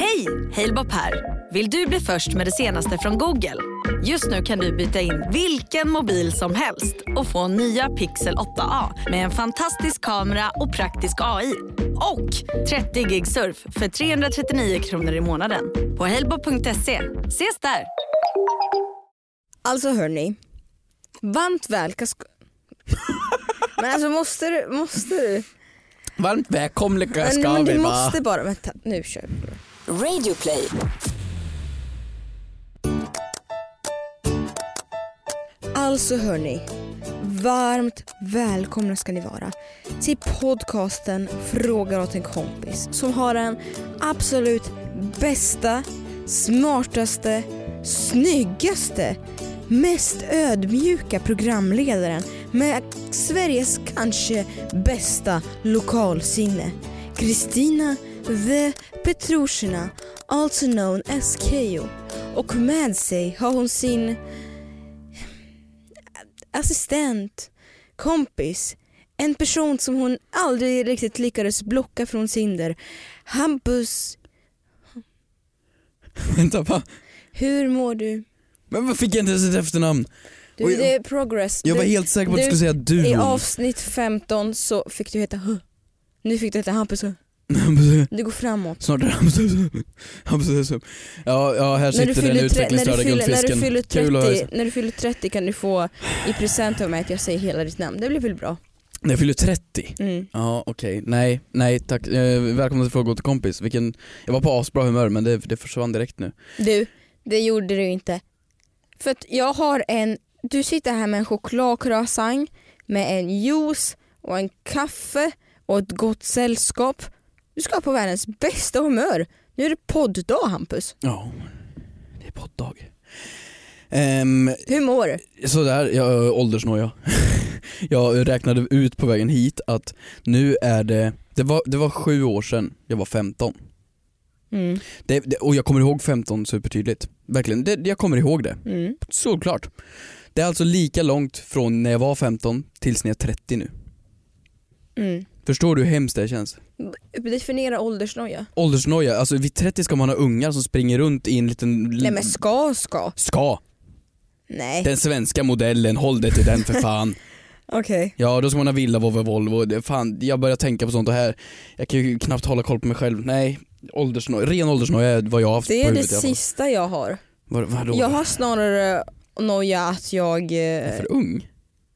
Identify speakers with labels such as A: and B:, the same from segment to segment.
A: Hej! Halebop här. Vill du bli först med det senaste från Google? Just nu kan du byta in vilken mobil som helst och få nya Pixel 8A med en fantastisk kamera och praktisk AI. Och 30 gig surf för 339 kronor i månaden på halebop.se. Ses där!
B: Alltså hörni, varmt välkomna... Men alltså måste du, måste du?
C: Varmt välkomna
B: Men,
C: ska
B: men
C: vi
B: du
C: vara.
B: måste bara, vänta nu kör vi.
D: Radioplay.
B: Alltså hörni, varmt välkomna ska ni vara till podcasten Fråga åt en kompis som har den absolut bästa, smartaste, snyggaste, mest ödmjuka programledaren med Sveriges kanske bästa lokalsinne. Kristina The Petrushina, also known as Keyyo. Och med sig har hon sin assistent, kompis, en person som hon aldrig riktigt lyckades blocka från Cinder. Hampus,
C: Vänta, va?
B: hur mår du?
C: Men vad fick jag inte ens ett efternamn?
B: Du,
C: Oj,
B: det är progress.
C: Jag var
B: du,
C: helt säker på att du
B: du-
C: skulle säga du.
B: I avsnitt 15 så fick du heta Huh. Nu fick du heta Hampus Huh. Det går framåt.
C: Snart är det Hampus Hampus Ja, ja här
B: När du,
C: sitter
B: fyller
C: den
B: tre, när, du fyller,
C: utvecklingsstörda
B: när, du
C: guldfisken.
B: fyller
C: Kul att höra.
B: 30, när du fyller 30 kan du få i present av mig att jag säger hela ditt namn. Det blir väl bra?
C: När jag fyller 30.
B: Mm.
C: Ja okej, nej, nej tack. Eh, välkomna till Fråga åt en kompis. Vilken, jag var på asbra humör men det, det försvann direkt nu.
B: Du, det gjorde du inte. För att jag har en, du sitter här med en chokladcroissant med en juice och en kaffe och ett gott sällskap. Du ska på världens bästa humör. Nu är det podddag Hampus.
C: Ja, det är podd-dag. Ehm,
B: Hur mår du?
C: sådär, jag åldersnoja. jag räknade ut på vägen hit att nu är det, det var, det var sju år sedan jag var 15.
B: Mm,
C: Det, det, och jag kommer ihåg 15 supertydligt. Verkligen, det, jag kommer ihåg det.
B: mm.
C: Solklart. Det är alltså lika långt från när jag var 15 tills när jag är 30 nu.
B: Mm.
C: Förstår du hur hemskt det känns?
B: Definiera åldersnoja.
C: Åldersnoja, alltså vid 30 ska man ha ungar som springer runt i en liten...
B: Nej men ska ska.
C: Ska!
B: Nej.
C: Den svenska modellen, håll dig till den för fan.
B: Okej.
C: Ja, då ska man ha villa, Volvo, Volvo. Det, fan, jag börjar tänka på sånt här. Jag kan ju knappt hålla koll på mig själv. Nej, åldersnoja, ren åldersnoja är vad jag har haft
B: Det
C: på
B: är det
C: huvudet i alla fall.
B: sista jag har.
C: Vad, vadå?
B: Jag har snarare noja att jag,
C: Jag är
B: eh,
C: för ung?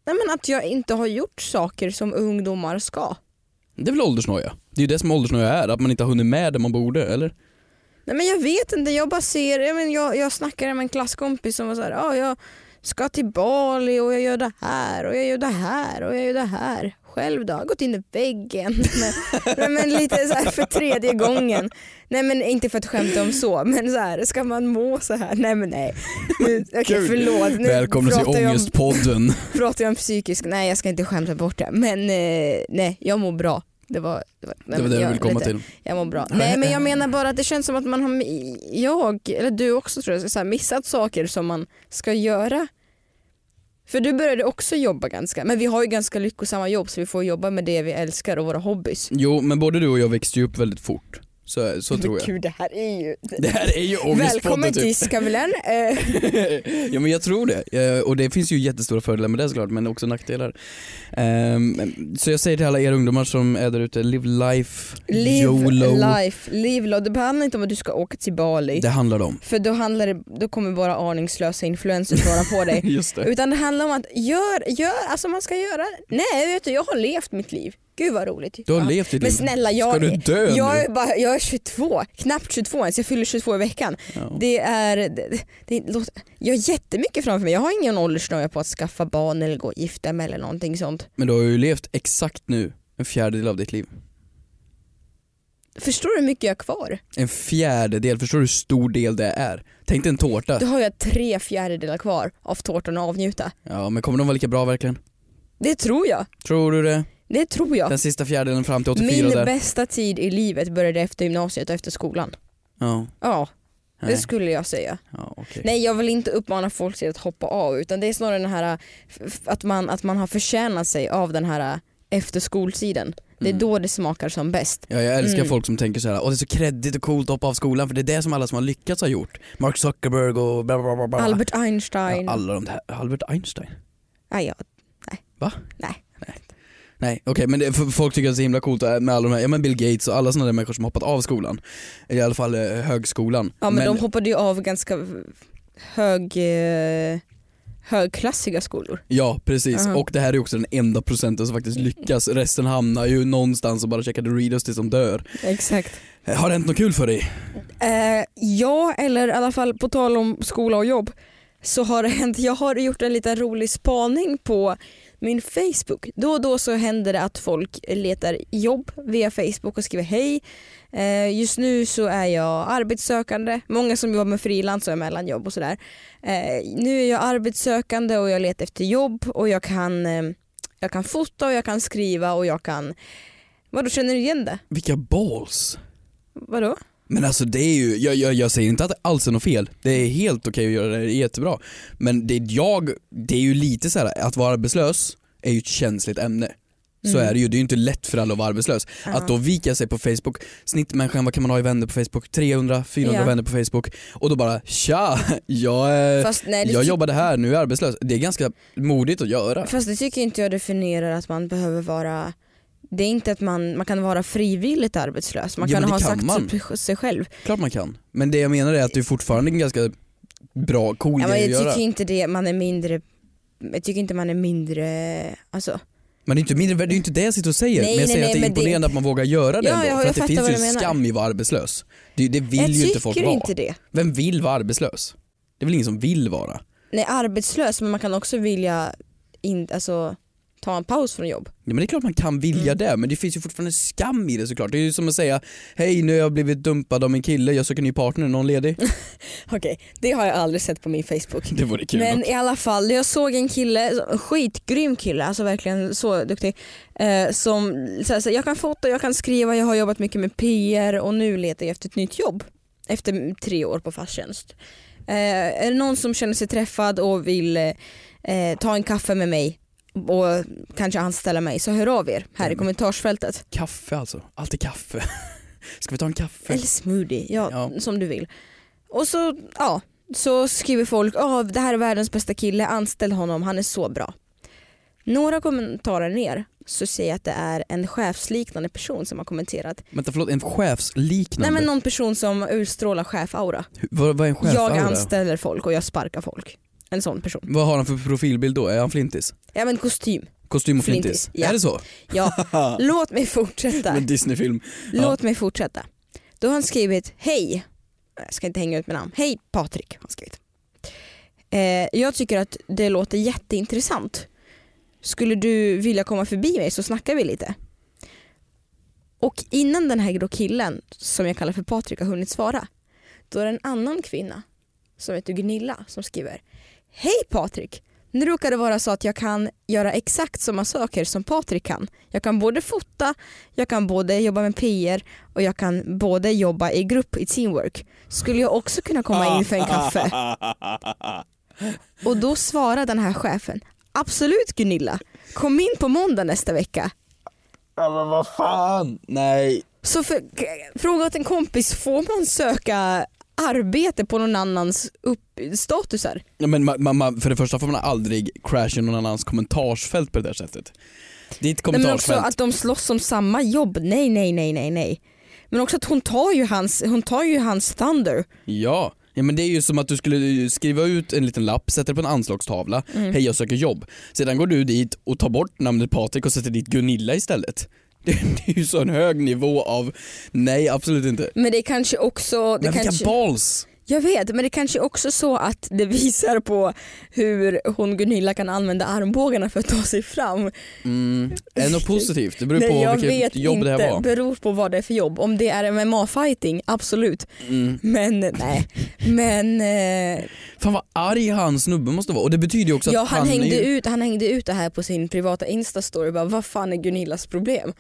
B: nej men att jag inte har gjort saker som ungdomar ska.
C: Det är väl åldersnoja? Det är ju det som åldersnoja är, att man inte har hunnit med det man borde, eller?
B: Nej men jag vet inte, jag bara ser, jag, men, jag, jag snackade med en klasskompis som var såhär, ah, jag ska till Bali och jag gör det här och jag gör det här och jag gör det här. Själv då? Har Gått in i väggen. Men- Nej men lite så här för tredje gången. Nej men inte för att skämta om så, men så här, ska man må så här? Nej men nej. Nu- Okej
C: Gud.
B: förlåt, nu
C: Välkommen till
B: pratar jag, om,
C: Ångestpodden.
B: pratar jag om psykisk, nej jag ska inte skämta bort det. Men eh, nej, jag mår bra. Det var det, var, nej,
C: det var
B: men
C: det jag
B: jag-
C: ville komma
B: lite-
C: till.
B: jag mår bra. Nej men jag menar bara att det känns som att man har, jag, eller du också tror jag, så här, missat saker som man ska göra. För du började också jobba ganska, men vi har ju ganska lyckosamma jobb så vi får jobba med det vi älskar och våra hobbys.
C: Jo, men både du och jag växte ju upp väldigt fort. Så, så
B: Men
C: tror jag.
B: Gud, det här är ju...
C: Det här är ju
B: Välkommen
C: Ångestpodden
B: till
C: typ.
B: Skavlan. Eh,
C: ja men jag tror det. Eh, Och det finns ju jättestora fördelar med det såklart men också nackdelar. Ehm, Så jag säger till alla er ungdomar som är där ute, live life,
B: live
C: YOLO.
B: life, live lo. Det handlar inte om att du ska åka till Bali.
C: Det handlar om.
B: För då, handlar det, då kommer bara aningslösa influencers vara på dig.
C: Just det.
B: Utan det handlar om att gör, gör, alltså man ska göra, nej vet du jag har levt mitt liv. Gud vad roligt.
C: Du har
B: Ja.
C: levt ditt
B: Men
C: liv.
B: snälla jag,
C: Ska du dö
B: jag,
C: nu?
B: är bara, jag är 22, knappt 22 ens, jag fyller 22 i veckan.
C: Ja.
B: Det är, det, det, låter- jag har jättemycket framför mig, jag har ingen åldersnöja på att skaffa barn eller gå och gifta mig eller någonting sånt.
C: Men du har ju levt exakt nu en fjärdedel av ditt liv.
B: Förstår du hur mycket jag har kvar?
C: En fjärdedel, förstår du hur stor del det är? Tänk dig en tårta.
B: Då har jag tre fjärdedelar kvar av tårtan att avnjuta.
C: Ja men kommer de vara lika bra verkligen?
B: Det tror jag,
C: Tror du det?
B: det tror jag.
C: Den sista fjärdedelen fram till 84
B: Min
C: där?
B: bästa tid i livet började efter gymnasiet och efter skolan.
C: Ja,
B: Ja, det
C: Nej.
B: skulle jag säga.
C: ja okej.
B: Nej jag vill inte uppmana folk till att hoppa av utan det är äh, snarare den här eh, f- f- att man, att man har förtjänat sig av den här eh, äh, efterskoltiden. Det
C: Mm.
B: är då det smakar som bäst.
C: Ja, jag älskar
B: Mm.
C: folk som tänker så här, åh det är så kreddigt och coolt att hoppa av skolan för det är det som alla som har lyckats har gjort. Mark Zuckerberg och bla bla bla. bla.
B: Albert
C: Ja,
B: Einstein.
C: alla de där. Albert Einstein?
B: Nej, ja. Nej.
C: Va?
B: Nej.
C: Nej okej men det, f- folk tycker att det är så himla coolt med alla de här, ja men Bill Gates och alla sådana där människor som hoppat av skolan. I alla fall eh, högskolan.
B: Ja men, de hoppade ju av ganska hög, eh, högklassiga skolor.
C: Ja precis,
B: Aha.
C: och det här är också den enda procenten som faktiskt lyckas. Resten hamnar ju någonstans och bara käkar Doritos tills de dör.
B: Exakt.
C: Eh, Har det hänt något kul för dig?
B: Eh, ja, eller i alla fall på tal om skola och jobb så har det hänt, jag har gjort en liten rolig spaning på min Facebook. Då och då så händer det att folk letar jobb via Facebook och skriver hej. Eh, just nu så är jag arbetssökande, många som jobbar med frilans och är mellan jobb och sådär. Eh, nu är jag arbetssökande och jag letar efter jobb och jag kan, eh, jag kan fota och jag kan skriva och jag kan... Vadå känner du igen det?
C: Vilka balls!
B: Vadå?
C: Men alltså det är ju, jag, jag, jag säger inte att det alls är något fel. Det är helt okej att göra det, det är jättebra. Men det jag, det är ju lite så här att vara arbetslös är ju ett känsligt ämne. Så
B: Mm.
C: är det ju, det är ju inte lätt för alla att vara arbetslös. Att då vika sig på Facebook, snittmänniskan vad kan man ha i vänner på Facebook? 300, 400
B: Ja.
C: vänner på Facebook. Och då bara tja, jag, är,
B: Fast nej, det
C: Eh,
B: typ-
C: jag
B: tycker-
C: jobbade här, nu är jag arbetslös. Det är ganska modigt att göra.
B: Fast det tycker inte jag definierar att man behöver vara det är inte att man, man kan vara frivilligt arbetslös, man
C: Ja,
B: kan
C: men det
B: ha
C: kan
B: sagt
C: man.
B: sig- sig själv.
C: Klart man kan. Men det jag menar är att det är fortfarande en ganska bra, cool
B: Ja, men
C: grej
B: jag
C: att göra.
B: tycker inte det, man är mindre, jag tycker inte man är mindre, alltså.
C: Men det är inte mindre värd, det är ju inte det jag sitter och säger.
B: Nej,
C: men jag
B: nej,
C: säger
B: nej,
C: att det är
B: men det-
C: imponerande att man vågar göra det
B: Ja,
C: ändå.
B: jag-
C: för
B: jag
C: att det
B: fattar
C: finns
B: vad
C: ju
B: du
C: en
B: menar.
C: skam i att vara arbetslös. Det, det vill
B: jag
C: ju inte folk
B: tycker
C: vara.
B: inte det.
C: Vem vill vara arbetslös? Det är väl ingen som vill vara?
B: Nej arbetslös men man kan också vilja in, alltså, ta en paus från jobb.
C: Ja, men det är klart man kan
B: Mm.
C: vilja det men det finns ju fortfarande skam i det såklart. Det är ju som att säga hej nu har jag blivit dumpad av min kille, jag söker ny partner, är någon ledig?
B: Okej, det har jag aldrig sett på min Facebook.
C: det vore kul.
B: Men
C: dock.
B: i alla fall, jag såg en kille, en skitgrym kille, alltså verkligen så duktig. Eh, som, så här, så här, jag kan fota, jag kan skriva, jag har jobbat mycket med PR och nu letar jag efter ett nytt jobb. Efter tre år på fast tjänst. Eh, är det någon som känner sig träffad och vill eh, ta en kaffe med mig och kanske anställa mig så hör av er här i
C: Mm.
B: kommentarsfältet.
C: Kaffe alltså, alltid kaffe. Ska vi ta en kaffe?
B: Eller smoothie, ja,
C: Ja.
B: som du vill. Och så, ja, så skriver folk oh, det här är världens bästa kille, anställ honom, han är så bra. Några kommentarer ner så ser jag att det är en chefsliknande person som har kommenterat.
C: Vänta förlåt, en
B: Nej
C: chefsliknande?
B: men någon person som utstrålar chefaura.
C: Hur- vad, vad är en
B: Jag
C: chefaura?
B: anställer folk och jag sparkar folk. En sån person.
C: Vad har han för profilbild då? Är han flintis?
B: Ja men kostym.
C: Kostym och flintis?
B: Flintis, ja.
C: Är det så?
B: Ja, låt mig fortsätta.
C: En Disneyfilm.
B: Låt mig fortsätta. Då har han skrivit Hej, jag ska inte hänga ut med namn. Hej Patrik har han skrivit. Eh, jag tycker att det låter jätteintressant. Skulle du vilja komma förbi mig så snackar vi lite. Och innan den här då killen som jag kallar för Patrik har hunnit svara då är det en annan kvinna som heter Gunilla som skriver Hej Patrik! Nu råkar det vara så att jag kan göra exakt samma saker som Patrik kan. Jag kan både fota, jag kan både jobba med PR och jag kan både jobba i grupp i teamwork. Skulle jag också kunna komma in för en kaffe? Och då svarar den här chefen Absolut Gunilla, kom in på måndag nästa vecka.
C: Ja men vad fan, nej.
B: Så för, k- fråga åt en kompis, får man söka arbete på någon annans upp, statusar?
C: Men man, man, man, för det första får man aldrig crasha någon annans kommentarsfält på det där sättet.
B: Nej,
C: Ditt
B: men också
C: kommentarsfält,
B: att de slåss om samma jobb, nej nej nej nej nej. Men också att hon tar ju hans, hon tar ju hans thunder.
C: ja. ja men det är ju som att du skulle skriva ut en liten lapp, sätta det på en anslagstavla,
B: Mm.
C: hej jag söker jobb. Sedan går du dit och tar bort namnet Patrik och sätter dit Gunilla istället. Det, det är ju så en hög nivå av, nej absolut inte.
B: Men det är kanske också... Det
C: Men vilka
B: kanske,
C: balls!
B: jag vet, men det kanske också så att det visar på hur hon Gunilla kan använda armbågarna för att ta sig fram.
C: Mm. Är det något positivt? Det beror
B: Nej,
C: på
B: jag
C: vilket
B: vet
C: jobb
B: inte,
C: det här var.
B: beror på vad det är för jobb. Om det är MMA-fighting, absolut.
C: Mm.
B: Men nej, men eh,
C: Fan vad arg han snubben måste vara och det betyder ju också
B: ja,
C: att
B: han,
C: är
B: hängde
C: ju...
B: ut, han hängde ut det här på sin privata instastory, bara, vad fan är Gunillas problem?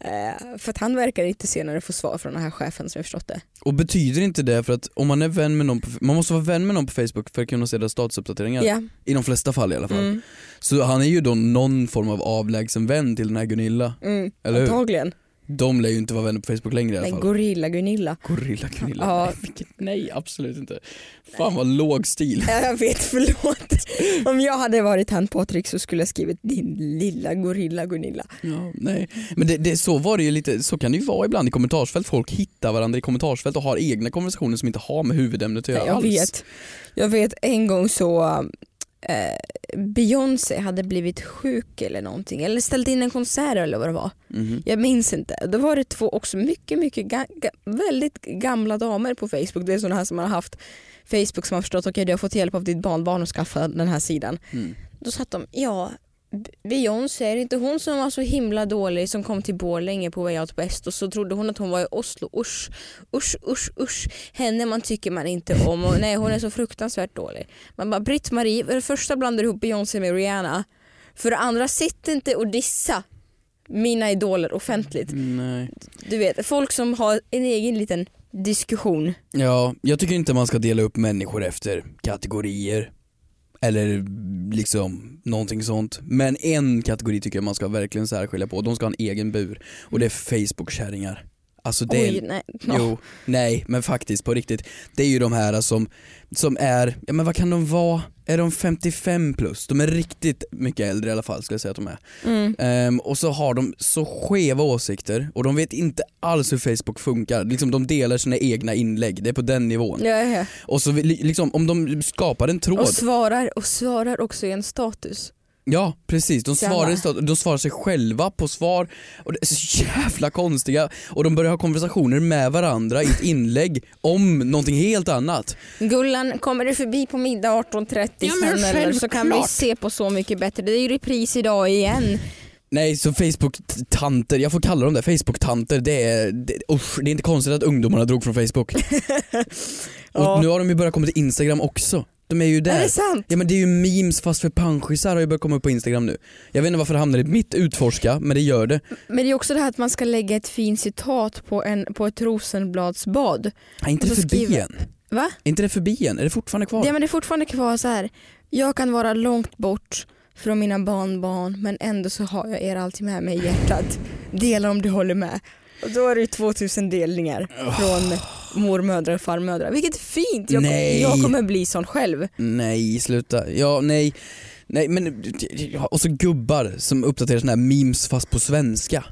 B: Eh, för att han verkar inte senare få svar från den här chefen som jag förstått det.
C: Och betyder inte det för att om man är vän med någon på, man måste vara vän med någon på Facebook för att kunna se deras statusuppdateringar.
B: Ja.
C: I de flesta fall i alla fall.
B: Mm.
C: Så han är ju då någon form av avlägsen vän till den här Gunilla.
B: Mm.
C: Eller hur?
B: Antagligen.
C: De lär ju inte vara vänner på Facebook längre i alla
B: Den
C: fall.
B: gorilla Gunilla.
C: Gorilla Gunilla.
B: Ja.
C: Nej, vilket, nej absolut inte. Fan vad låg stil.
B: Ja, eh, Jag vet, förlåt. Om jag hade varit han Patrik så skulle jag skrivit din lilla gorilla Gunilla.
C: Ja, nej. Men det, det, så var det ju lite, så kan det ju vara ibland i kommentarsfält. Folk hittar varandra i kommentarsfält och har egna konversationer som inte har med huvudämnet att göra
B: Jag
C: alls.
B: vet. Jag vet en gång så eh, Beyoncé hade blivit sjuk eller någonting eller ställt in en konsert eller vad det var.
C: Mhm.
B: Jag minns inte. Då var det två också mycket, mycket ga- ga- väldigt gamla damer på Facebook. Det är sådana här som man har haft Facebook som har förstått okej du har fått hjälp av ditt barnbarn att skaffa den här sidan.
C: Mm.
B: Då satt de, ja B- Beyoncé, är det inte hon som var så himla dålig som kom till Borlänge på Way Out West och så trodde hon att hon var i Oslo. Usch, usch, usch, usch. Henne man tycker man inte om och nej hon är så fruktansvärt dålig. Man bara Britt-Marie, för det första blandar du ihop Beyoncé med Rihanna. För det andra, sitt inte och dissa mina idoler offentligt.
C: Nej.
B: Du vet, folk som har en egen liten diskussion.
C: Ja, jag tycker inte man ska dela upp människor efter kategorier. Eller liksom någonting sånt. Men en kategori tycker jag man ska verkligen särskilja på. De ska ha en egen bur. Och det är Facebook-kärringar. Alltså det är
B: Oj, nej.
C: Jo, nej men faktiskt på riktigt. Det är ju de här som, som är, ja men vad kan de vara? Är de 55 plus? De är riktigt mycket äldre i alla fall skulle jag säga att de är.
B: Mm.
C: Ehm, och så har de så skeva åsikter och de vet inte alls hur Facebook funkar. Liksom de delar sina egna inlägg, det är på den nivån.
B: Ja, ja.
C: Och så vill- liksom om de skapar en tråd.
B: Och svarar, och svarar också i en status.
C: Ja precis, de
B: Jävlar.
C: svarar, istället- de svarar sig själva på svar och det är så jävla konstiga och de börjar ha konversationer med varandra i ett inlägg om någonting helt annat.
B: Gullan, kommer du förbi på middag 18.30
C: Ja, men
B: sen eller så kan vi
C: självklart.
B: se på Så mycket bättre. Det är ju repris idag igen.
C: Nej så Facebook-tanter, jag får kalla dem det, Facebook-tanter det är, det, usch, det är inte konstigt att ungdomarna drog från Facebook.
B: Ja.
C: Och nu har de ju börjat komma till Instagram också. De är ju
B: Är
C: där.
B: det sant?
C: Ja men det är ju memes fast för panschisar har ju börjat komma upp på Instagram nu. Jag vet inte varför det hamnar i mitt utforska men det gör det.
B: Men det är också det här att man ska lägga ett fint citat på, en, på ett rosenbladsbad.
C: Är inte
B: Och
C: det
B: så
C: förbi
B: skriver-
C: än?
B: Va?
C: Är inte det förbi än? Är det fortfarande kvar?
B: Ja, men det är fortfarande kvar så här. Jag kan vara långt bort från mina barnbarn men ändå så har jag er alltid med mig i hjärtat. Dela om du håller med. Och då är det ju 2000 delningar från mormödrar och farmödrar. Vilket fint! Jag,
C: Nej.
B: jag kommer bli sån själv.
C: Nej, sluta. Ja, nej. Nej men, och så gubbar som uppdaterar såna här memes fast på svenska.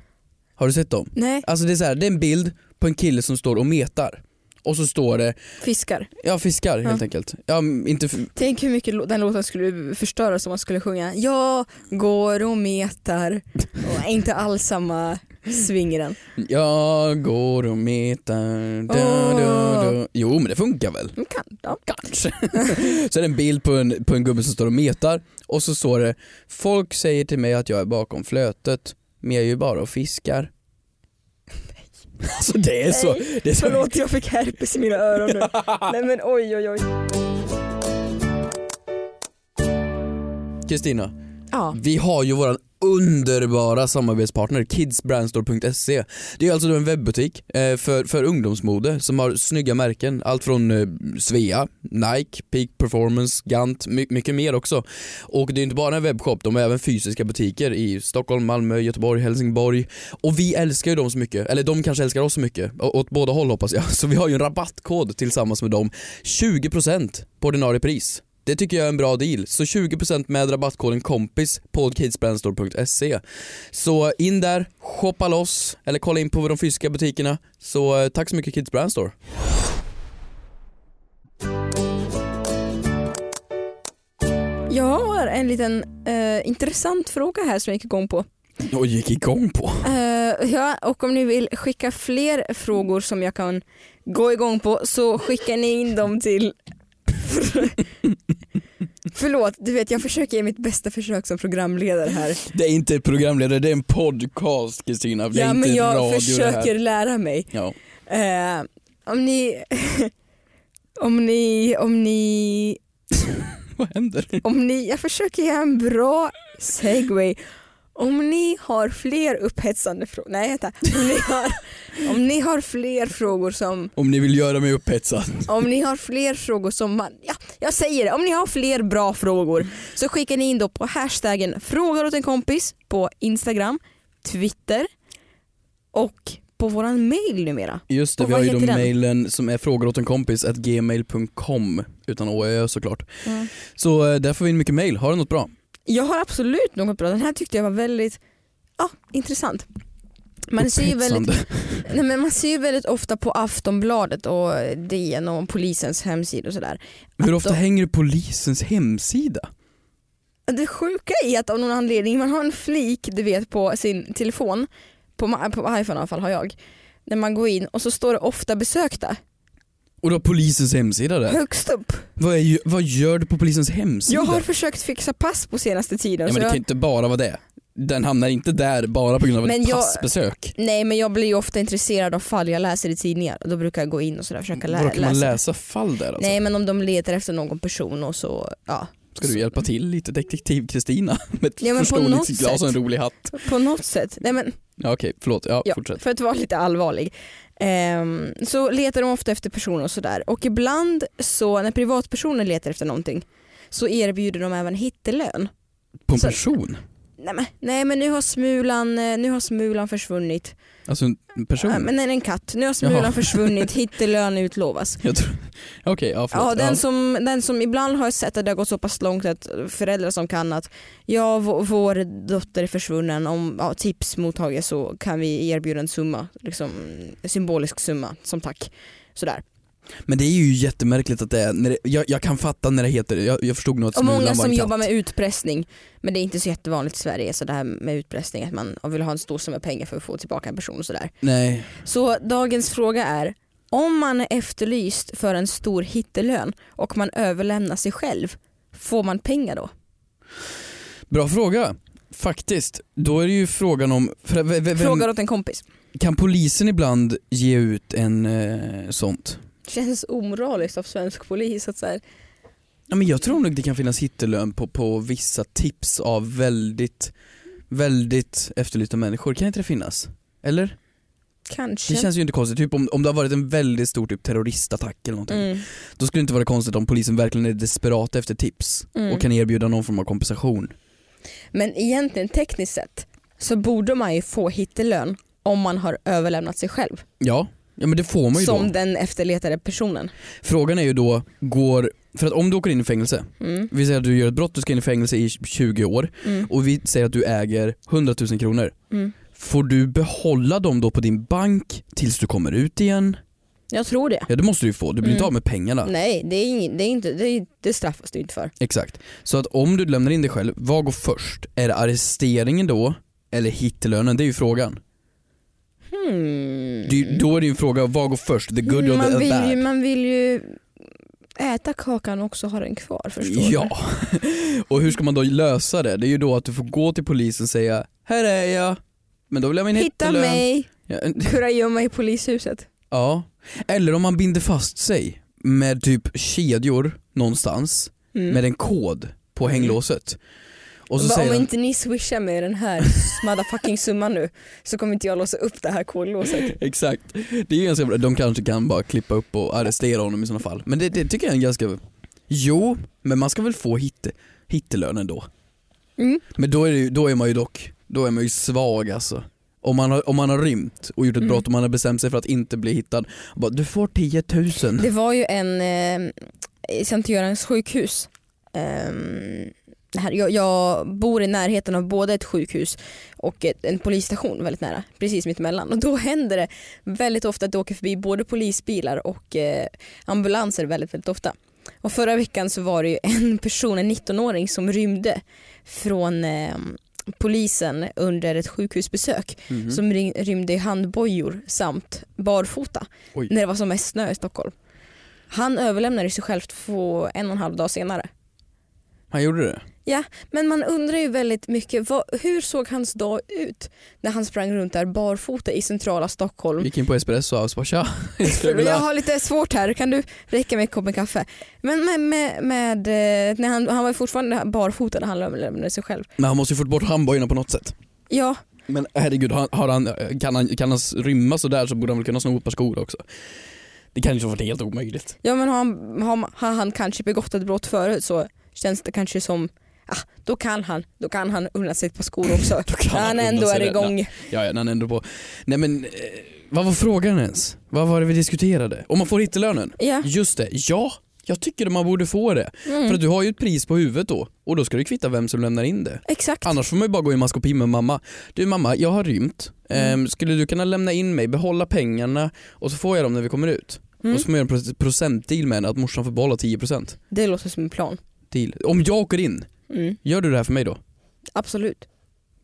C: Har du sett dem?
B: Nej,
C: Alltså det är så här, det är en bild på en kille som står och metar. Och så står det,
B: fiskar.
C: ja fiskar helt
B: Ja.
C: enkelt. Ja, m- inte f-
B: Tänk hur mycket lo- den låten skulle förstöras om man skulle sjunga Jag går och metar. Och inte alls samma sving i den.
C: jag går och metar. Da, da, da. Jo men det funkar väl?
B: Men Kan, ja.
C: Kanske. så är det en bild på en, på en gubbe som står och metar och så står det Folk säger till mig att jag är bakom flötet men jag är ju bara och fiskar. Alltså det är så, det är så
B: Förlåt jag fick herpes i mina öron nu. Nej men oj oj oj.
C: Kristina,
B: Ja.
C: vi har ju våran underbara samarbetspartner kidsbrandstore.se. Det är alltså då en webbutik eh, för, för ungdomsmode som har snygga märken. Allt från eh, Svea, Nike, Peak Performance, Gant, my- mycket mer också. Och det är inte bara en webbshop, de har även fysiska butiker i Stockholm, Malmö, Göteborg, Helsingborg. Och vi älskar ju dem så mycket, eller de kanske älskar oss så mycket. Å- åt båda håll hoppas jag. Så vi har ju en rabattkod tillsammans med dem. 20% på ordinarie pris. Det tycker jag är en bra deal. Så 20% med rabattkoden KOMPIS på kidsbrandstore.se. Så in där, shoppa loss eller kolla in på de fysiska butikerna. Så eh, tack så mycket Kids Brandstore.
B: Jag har en liten eh, intressant fråga här som jag gick igång på.
C: Och gick igång på.
B: Eh, ja, och om ni vill skicka fler frågor som jag kan gå igång på så skickar ni in dem till Förlåt, du vet jag försöker ge mitt bästa försök som programledare här.
C: Det är inte ett programledare, det är en podcast Kristina. Det är
B: Ja
C: inte
B: men jag
C: radio det
B: försöker
C: här.
B: lära mig.
C: Ja.
B: Eh, om ni... om ni... Om ni...
C: Vad händer?
B: Om ni... Jag försöker göra en bra segway. Om ni har fler upphetsande frågor, nej vänta. Om ni, har, om ni har fler frågor som,
C: Om ni vill göra mig upphetsad.
B: om ni har fler frågor som man, ja jag säger det, om ni har fler bra frågor så skickar ni in då på hashtaggen frågar åt en kompis på Instagram, Twitter och på våran mail numera.
C: Just det,
B: Och
C: vi har
B: vad
C: ju då
B: heter den?
C: mailen som är frågor åt en kompis at gmail.com utan OÖ såklart.
B: Mm.
C: Så eh, där får vi in mycket mail. Har du något bra?
B: Jag har absolut något bra, den här tyckte jag var väldigt ja, intressant. Man ser, ju väldigt,
C: Upphetsande.
B: nej men man ser ju väldigt ofta på Aftonbladet och DN och polisens hemsida och sådär.
C: Hur
B: att
C: ofta
B: de-
C: hänger det på polisens hemsida?
B: Det sjuka är att av någon anledning, man har en flik du vet på sin telefon, på, ma- på iPhone i alla fall har jag, när man går in och så står det ofta besökta
C: Och du har polisens hemsida där?
B: högst upp.
C: Vad, är, ju- vad gör du på polisens hemsida?
B: Jag har försökt fixa pass på senaste tiden.
C: ja,
B: så
C: men det
B: jag,
C: kan ju inte bara vara det. Den hamnar inte där bara på grund av
B: Men
C: ett
B: jag-
C: passbesök.
B: Nej men jag blir ju ofta intresserad av fall jag läser i tidningar och då brukar jag gå in och sådär, försöka lä-
C: Vadå, kan man
B: läsa.
C: läsa fall där alltså?
B: Nej men om de letar efter någon person och så, ja.
C: Ska du hjälpa till lite? Detektiv Kristina med ett
B: Ja, men på något
C: förstoringsglas och en
B: sätt.
C: rolig hatt.
B: På något sätt. Nej men
C: Ja, okej, förlåt. Ja,
B: Ja,
C: fortsätt.
B: för att vara lite allvarlig. Ehm, så letar de ofta efter personer och sådär. Och ibland så när privatpersoner letar efter någonting så erbjuder de även hittelön.
C: På en
B: så-
C: person?
B: Nej men, nej, men nu, har smulan, eh, nu har smulan försvunnit.
C: Alltså en person?
B: Ja, men nej, en katt. Nu har smulan
C: Jaha.
B: försvunnit, hittelön utlovas.
C: Jag tror... Okej, ja förlåt.
B: Ja, den,
C: Ja.
B: Som, den som ibland har sett att det har gått så pass långt att föräldrar som kan att ja, vår, vår dotter är försvunnen, om ja, tips mottages så kan vi erbjuda en summa, liksom, en symbolisk summa som tack. Sådär.
C: Men det är ju jättemärkligt att det är, när det, jag, jag kan fatta när det heter, jag, jag förstod nog att
B: Och
C: Smulan var
B: många
C: en
B: som
C: katt.
B: jobbar med utpressning, men det är inte så jättevanligt i Sverige så det här med utpressning, att man vill ha en stor summa pengar för att få tillbaka en person och sådär.
C: Nej,
B: Så dagens fråga är, om man är efterlyst för en stor hittelön och man överlämnar sig själv, får man pengar då?
C: bra fråga. Faktiskt. Då är det ju frågan om, för, v, v, vem,
B: Frågar åt en kompis.
C: kan polisen ibland ge ut en eh, sånt?
B: känns omoraliskt av svensk polis att så här,
C: Ja, men jag tror nog det kan finnas hittelön på, på vissa tips av väldigt, väldigt efterlysta människor. Kan inte det finnas? Eller?
B: kanske.
C: Det känns ju inte konstigt, typ om, om det har varit en väldigt stor typ terroristattack eller någonting.
B: mm.
C: Då skulle det inte vara konstigt om polisen verkligen är desperat efter tips
B: Mm.
C: och kan erbjuda någon form av kompensation.
B: Men egentligen tekniskt sett så borde man ju få hittelön om man har överlämnat sig själv
C: Ja, ja men det får man ju
B: som
C: då.
B: den efterletade personen.
C: Frågan är ju då, går, för att om du åker in i fängelse,
B: Mm.
C: vi säger att du gör ett brott, du ska in i fängelse i 20 år
B: Mm.
C: och vi säger att du äger 100 000 kronor.
B: Mm.
C: Får du behålla dem då på din bank tills du kommer ut igen?
B: Jag tror det.
C: Ja det måste du ju få, du blir inte
B: Mm.
C: av med pengarna.
B: Nej, det, är ing, det, är inte, det, är, det straffas du inte för.
C: Exakt. Så att om du lämnar in dig själv, vad går först? Är det arresteringen då? Eller hittelönen? Det är ju frågan.
B: Hmm.
C: Det är ju- då är det ju en fråga, vad går först? The Hmm. good or
B: Mm. man,
C: the
B: vill ju,
C: bad?
B: man vill ju äta kakan och också ha den kvar förstår du.
C: Ja. Och hur ska man då lösa det? Det är ju då att du får gå till polisen och säga Här är jag, men då vill jag ha min
B: Hitta
C: hittelön.
B: mig,
C: Ja,
B: kurragömma i polishuset.
C: Ja. Eller om man binder fast sig med typ kedjor någonstans
B: Mm.
C: med en kod på hänglåset. Och så
B: Bara,
C: säger
B: om
C: den-
B: inte ni swishar mig den här motherfucking summan nu så kommer inte jag låsa upp det här kodlåset.
C: Exakt. Det är ju ganska bra. De kanske kan bara klippa upp och arrestera honom i sådana fall. Men det, det tycker jag är en ganska... Jo, men man ska väl få hitte, hittelön ändå.
B: Mm.
C: Men då är, det, ju- då är man ju dock, då är man ju svag alltså. Om man, har, om man har rymt och gjort ett
B: Mm.
C: brott och man har bestämt sig för att inte bli hittad. Bara, du får 10 000.
B: Det var ju en eh, i Sankt Görans sjukhus. Ehm, det här, jag, jag bor i närheten av både ett sjukhus och ett, en polisstation väldigt nära, precis mitt emellan. Och då händer det väldigt ofta att det åker förbi både polisbilar och eh, ambulanser väldigt, väldigt ofta. Och förra veckan så var det ju en person, en 19-åring som rymde från eh, polisen under ett sjukhusbesök.
C: Mhm.
B: som ring- rymde i handbojor samt barfota
C: Oj.
B: när det var som mest snö i Stockholm. Han överlämnade sig själv två, en och en halv dag senare.
C: Han gjorde det?
B: Men man undrar ju väldigt mycket, vad, hur såg hans dag ut när han sprang runt där barfota i centrala Stockholm?
C: Gick in på espresso och bara tja, jag skulle vilja-
B: Jag har lite svårt här, kan du räcka mig en kopp med kaffe? Men med, med, med, eh, när han, han var ju fortfarande barfota när han överlämnade sig själv.
C: Men han måste ju fått bort handbojorna på något sätt.
B: Ja,
C: Men herregud, har, har han, kan, han, kan han rymma sådär så borde han väl kunna sno ett par skor också. Det kan ju inte ha varit helt omöjligt.
B: ja men har han, har, har han kanske begått ett brott förut så känns det kanske som Ah, då kan han, då kan han unna sig ett par skor också.
C: Då kan
B: När
C: han
B: han
C: unna
B: ändå
C: sig
B: är
C: det.
B: igång.
C: Ja, ja, när han ändå på. Nej men, eh, vad var frågan ens? Vad var det vi diskuterade? Om man får hittelönen?
B: Ja. Mm.
C: Just det, ja. Jag tycker man borde få det. För att du har ju ett pris på huvudet då och då ska det kvitta vem som lämnar in det.
B: Exakt.
C: Annars får man ju bara gå i maskopi med mamma. Du mamma, jag har rymt. Ehm,
B: Mm.
C: skulle du kunna lämna in mig, behålla pengarna och så får jag dem när vi kommer ut?
B: Mm.
C: Och så får man göra en pro- procentdeal med henne att morsan får behålla 10%.
B: Det låter som en plan.
C: Deal. Om jag åker in,
B: Mm.
C: gör du det här för mig då?
B: Absolut.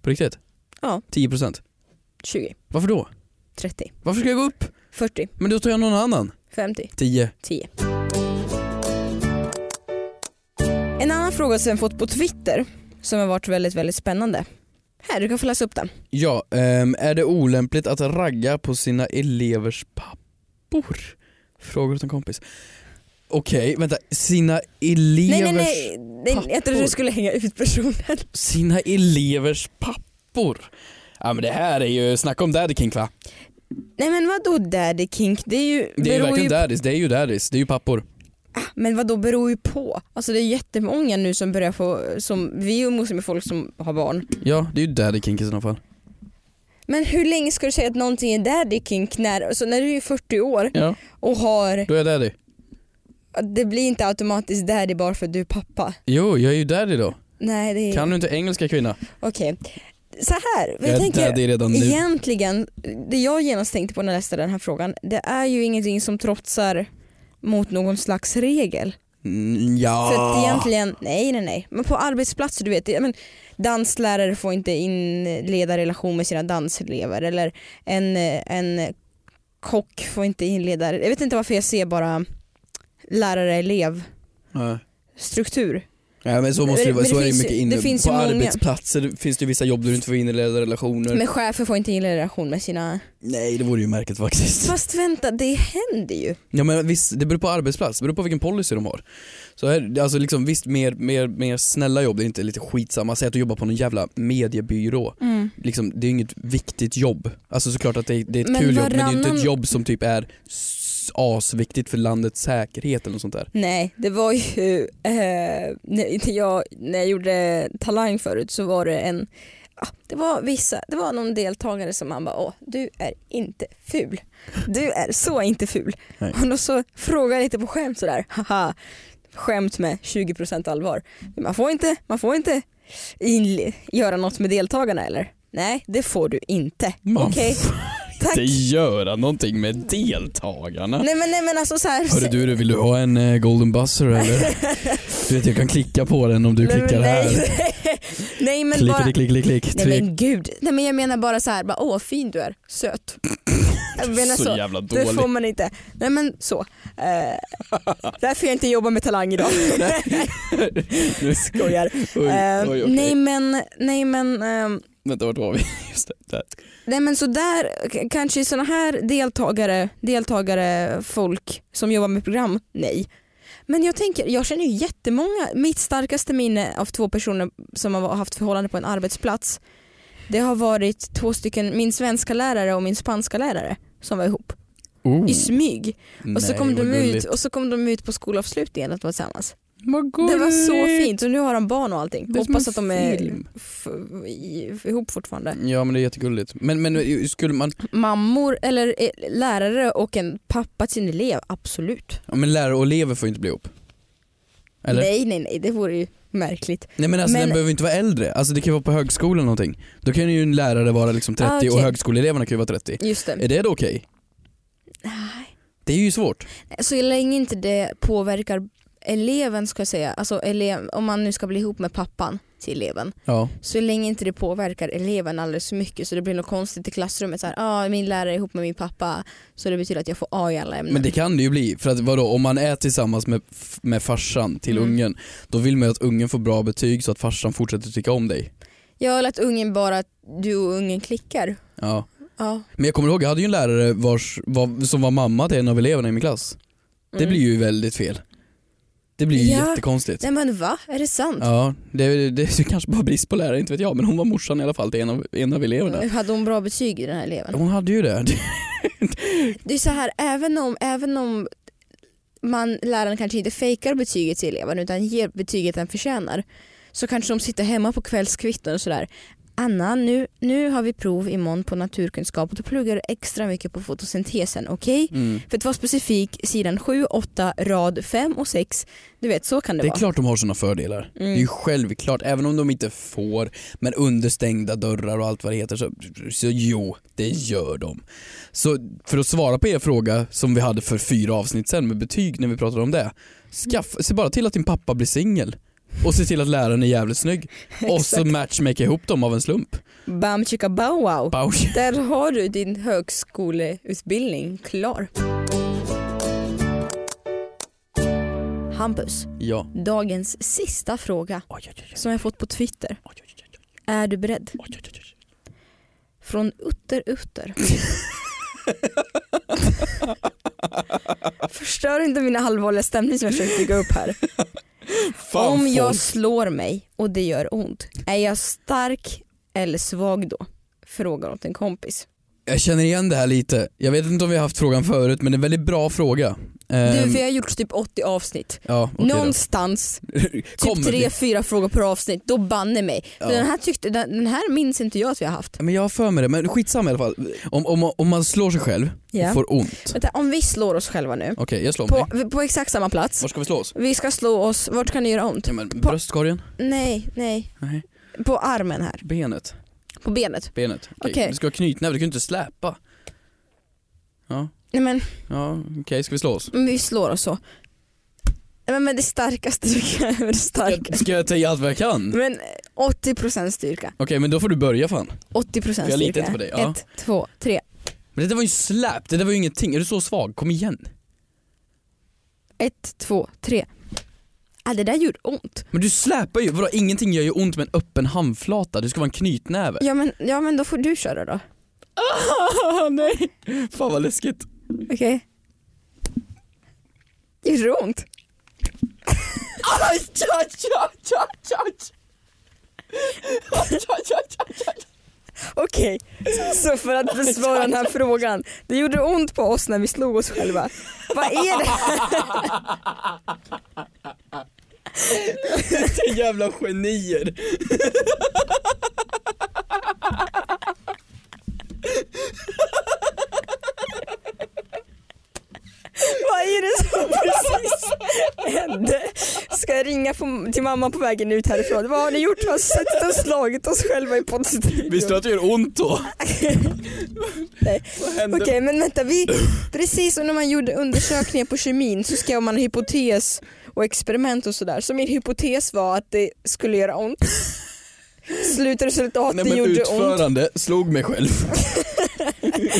C: På riktigt?
B: Ja.
C: 10%?
B: 20,
C: Varför då?
B: 30,
C: Varför ska jag gå upp?
B: 40,
C: Men då tar jag någon annan.
B: 50,
C: 10.
B: 10. En annan fråga som jag fått på Twitter som har varit väldigt, väldigt spännande. Här, du kan få läsa upp den.
C: Ja, ehm, är det olämpligt att ragga på sina elevers pappor? Frågar åt en kompis. Okej, vänta. Sina elevers...
B: Nej, nej, nej. nej jag trodde
C: pappor.
B: du skulle hänga ut personen.
C: Sina elevers pappor? Ja men det här är ju, snacka om daddy kink va?
B: Nej men vadå daddy kink? Det är ju,
C: Det är ju
B: beror
C: verkligen
B: ju,
C: daddies, det är ju daddies, det är ju pappor.
B: men vadå beror ju på? Alltså det är jättemånga nu som börjar få, som, vi umgås med folk som har barn.
C: Ja, det är ju daddy kink i sådana fall.
B: Men hur länge ska du säga att någonting är daddy kink när, alltså när du är 40 år
C: Ja,
B: och har,
C: då är jag daddy.
B: det blir inte automatiskt daddy bara för att du är pappa.
C: Jo, jag är ju daddy då.
B: Nej det är,
C: Kan du inte engelska kvinna?
B: okej. Så här,
C: Jag
B: jag
C: är
B: tänker
C: daddy redan nu.
B: egentligen, det jag genast tänkte på när jag läste den här frågan, det är ju ingenting som trotsar mot någon slags regel.
C: Mm,
B: För att
C: ja.
B: egentligen, nej nej nej. Men på arbetsplatser du vet, ja, men, danslärare får inte inleda relation med sina danselever eller en, eh, en kock får inte inleda, jag vet inte varför jag ser bara lärare-elev
C: Nej.
B: struktur.
C: Ja men så måste det
B: Men
C: vara,
B: det
C: så är det ju
B: finns ju-
C: mycket inne.
B: det finns ju
C: På
B: många-
C: arbetsplatser finns det ju vissa jobb där du inte får inleda relationer.
B: Men chefer får inte inleda relation med sina...
C: Nej det vore ju märkligt faktiskt.
B: Fast vänta, det händer ju.
C: Ja men visst, det beror på arbetsplats, det beror på vilken policy de har. Så här, alltså liksom, visst, mer, mer, mer snälla jobb, det är inte lite skitsamma. Säg att du jobbar på någon jävla mediebyrå.
B: Mm.
C: Liksom, det är inget viktigt jobb. Alltså såklart att det, det är ett
B: Men
C: kul jobb men det är ju inte ett
B: varannan-
C: jobb som typ är s- asviktigt för landets säkerhet eller något sånt där.
B: Nej, det var ju eh, när, jag, när jag gjorde Talang förut så var det en ah, det var vissa, det var någon deltagare som man bara åh du är inte ful. Du är så inte ful.
C: Nej.
B: Och då så frågade jag lite på skämt sådär, haha skämt med 20% allvar. Man får inte, man får inte in, göra något med deltagarna eller? Nej det får du inte.
C: Man
B: Okej, tack.
C: göra någonting med deltagarna.
B: Nej men, nej, men alltså så här,
C: Hörru du, du, vill du ha en eh, golden buzzer eller? Du vet jag kan klicka på den om du
B: nej, men
C: klickar här.
B: nej, nej men bara,
C: Klick, klick, klick, klick.
B: Nej
C: Tryck.
B: men gud, Nej, men jag menar bara så här, bara, åh vad fin du är, söt. Jag menar
C: Så
B: så,
C: jävla
B: det
C: dålig.
B: får man inte. Nej men så. Eh, därför jag inte jobbar med talang idag. Skojar.
C: Oj,
B: Eh,
C: oj, okej.
B: Nej men, nej men, ehm,
C: Vänta, vart var vi? Just det, där.
B: nej men så där k- kanske sådana här deltagare, deltagare, folk som jobbar med program, nej. Men jag tänker, jag känner ju jättemånga, mitt starkaste minne av två personer som har haft förhållande på en arbetsplats det har varit två stycken, min svenska lärare och min spanska lärare som var ihop
C: Oh.
B: i smyg. Och så,
C: Nej,
B: kom
C: vad
B: de ut,
C: gulligt.
B: och så kom de ut på skolavslutningen att vara tillsammans.
C: Vad
B: Det var så
C: gulligt.
B: fint och nu har de barn och allting.
C: Det är som
B: Hoppas
C: en
B: att de är
C: film.
B: f- i- f- ihop fortfarande.
C: Ja men det är jättegulligt. Men, men skulle man,
B: Mammor eller eh, lärare och en pappa till sin elev, absolut.
C: ja, men lärare och elever får ju inte bli ihop. Eller? Nej,
B: Nej nej nej, det vore ju märkligt.
C: men alltså den
B: Men-
C: behöver ju inte vara äldre, alltså det kan ju vara på högskolan eller någonting. Då kan ju en lärare vara liksom 30
B: Ah,
C: och
B: okej.
C: högskoleeleverna kan ju vara 30.
B: Just det.
C: Är det då okej?
B: Nej.
C: Det är ju svårt.
B: Så länge inte det påverkar eleven ska jag säga, alltså elev, om man nu ska bli ihop med pappan till eleven.
C: Ja.
B: Så länge inte det påverkar eleven alldeles för mycket så det blir något konstigt i klassrummet. Så här, ah, min lärare är ihop med min pappa så det betyder att jag får A i alla ämnen.
C: Men det kan det ju bli, för att vadå, om man är tillsammans med, f- med farsan till
B: Mm.
C: ungen, då vill man ju att ungen får bra betyg så att farsan fortsätter tycka om dig.
B: Jag har lärt ungen bara att du och ungen klickar.
C: Ja.
B: Ja.
C: Men jag kommer ihåg, jag hade ju en lärare vars, var, som var mamma till en av eleverna i min klass. Det
B: Mm.
C: blir ju väldigt fel. Det blir ju
B: Ja.
C: jättekonstigt.
B: Nej men va? Är det sant?
C: Ja, det, det är ju kanske bara brist på lärare, inte vet jag. Men hon var morsan i alla fall till en av, en av eleverna.
B: Hade hon bra betyg i den här eleven?
C: Hon hade ju det.
B: Det är så här, även om, även om man, läraren kanske inte fejkar betyget till eleven utan ger betyget den förtjänar så kanske de sitter hemma på kvällskvitton och sådär. Anna, nu, nu har vi prov imorgon på naturkunskap och då pluggar du extra mycket på fotosyntesen, okej?
C: Mm.
B: För att vara specifik, sidan 7, 8, rad 5 och 6. Du vet, så kan det,
C: Det är
B: vara.
C: klart de har sina fördelar. Det är
B: Mm.
C: ju självklart, även om de inte får, men under stängda dörrar och allt vad det heter, så, så jo, det gör de. Så för att svara på er fråga som vi hade för fyra avsnitt sen med betyg när vi pratade om det. Skaffa, se bara till att din pappa blir singel och se till att läraren är jävligt snygg och så
B: Exakt.
C: matchmaka ihop dem av en slump.
B: Bam chicka bow wow.
C: Bau.
B: Där har du din högskoleutbildning klar. Hampus,
C: Ja.
B: dagens sista fråga
C: Oj, oj, oj,
B: som jag fått på Twitter.
C: oj, oj, oj, oj,
B: Är du beredd?
C: oj, oj, oj, oj.
B: Från Utter Utter. Förstör inte min allvarliga stämning som jag försökt bygga upp här.
C: Fan,
B: Om jag
C: folk.
B: slår mig och det gör ont, är jag stark eller svag då? Frågar åt en kompis.
C: jag känner igen det här lite. Jag vet inte om vi har haft frågan förut men det är en väldigt bra fråga.
B: Du,
C: Ehm,
B: för jag har gjort typ 80 avsnitt.
C: ja, okej då.
B: Någonstans Typ
C: Kommer vi-
B: tre, fyra frågor per avsnitt, då banne mig.
C: Ja.
B: Den, här tyckte, den, den här minns inte jag att vi har haft.
C: Men jag har för mig det, men skitsamma i alla fall. Om, om, om man slår sig själv och får ont. Okej,
B: Vänta, om vi slår oss själva nu,
C: jag slår mig.
B: på, på exakt samma plats.
C: Var ska vi slå oss?
B: Vi ska slå oss, vart kan det göra ont?
C: Ja, men, bröstkorgen?
B: Nej, nej.
C: Nej.
B: På armen här,
C: Benet?
B: på benet.
C: Benet. Okej.
B: Okej.
C: Du ska ha knytnäve, du kan ju inte släpa. Ja,
B: Nej men,
C: ja okej, ska vi slå oss?
B: men vi slår oss så. Nej, Men, men det starkaste vi kan det
C: Ska,
B: starkaste.
C: ska jag säga allt vad jag kan? Okej,
B: Men 80% styrka.
C: men då får du börja fan.
B: 80% styrka.
C: Jag litar inte på dig, ja.
B: Ett, två, tre.
C: Men det där var ju släp, det där var ju ingenting. Är du så svag? Kom igen.
B: Ett, två, tre. Ah, det där gjorde ont.
C: Men du släpar ju, vadå ingenting gör ju ont med en öppen handflata, det ska vara en knytnäve.
B: Ja men, ja men då får du köra då.
C: Ah, nej! Fan vad läskigt.
B: Okej. Det Gjorde det ont?
C: Aj, aj, aj, aj, aj. Aj, aj, aj, aj, aj.
B: Okej, så för att besvara den här frågan. Det gjorde ont på oss när vi slog oss själva. Vad är det?
C: Vilka jävla genier!
B: Vad är det som precis hände? Ska jag ringa på, till mamma på vägen ut härifrån? Vad har ni gjort? Vi har suttit och slagit oss själva i poddstudion.
C: Visste du att det gör ont då?
B: Nej.
C: Vad hände?
B: Okej men vänta, vi, precis som när man gjorde undersökningar på kemin så skrev man en hypotes och experiment och sådär. Så min hypotes var att det skulle göra ont. Slutresultat,
C: Nej
B: det
C: men
B: gjorde ont.
C: utförande slog mig själv.
B: Nej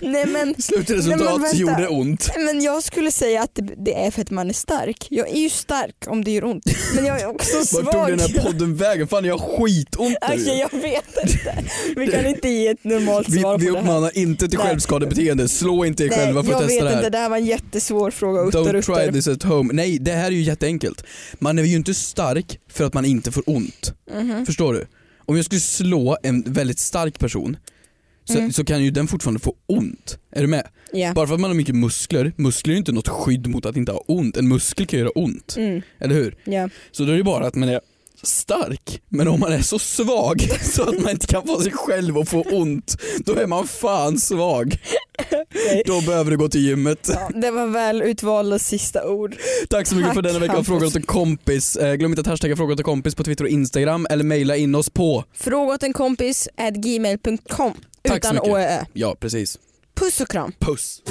B: men, Nej, men
C: Slutresultat
B: vänta.
C: gjorde ont.
B: men jag skulle säga att det, det är för att man är stark. Jag är ju stark om det gör ont. Men jag är också svag.
C: Vart tog den här podden vägen? Fan jag har skitont nu
B: Okej
C: ju.
B: jag vet inte. Vi kan inte ge ett normalt
C: vi,
B: svar
C: vi
B: på det här.
C: uppmanar inte till
B: Nej.
C: självskadebeteende, slå inte er själva för att
B: jag vet
C: testa det här.
B: inte, det här var en jättesvår fråga. Utter,
C: Don't
B: utter.
C: try this at home. Nej, det här är ju jätteenkelt. Man är ju inte stark för att man inte får ont.
B: Mhm.
C: Förstår du? Om jag skulle slå en väldigt stark person så,
B: Mm.
C: så kan ju den fortfarande få ont. Är du med?
B: Ja.
C: Bara för att man har mycket muskler, muskler är ju inte något skydd mot att inte ha ont. En muskel kan göra ont.
B: Mm,
C: Eller hur?
B: ja.
C: Så då är det bara att man är stark, men om man är så svag så att man inte kan få sig själv att få ont, då är man fan svag. Då behöver du gå till gymmet.
B: Ja, det var väl utvalda sista ord.
C: Tack så mycket
B: Tack,
C: för denna vecka av
B: Hampus.
C: Frågor åt en kompis. Eh, glöm inte att hashtagga Frågor åt en kompis på Twitter och Instagram eller mejla in oss på...
B: Fråga åt en kompis at gmail.com
C: Tack så
B: utan
C: mycket.
B: å ö.
C: Ja, precis.
B: Puss och kram.
C: Puss!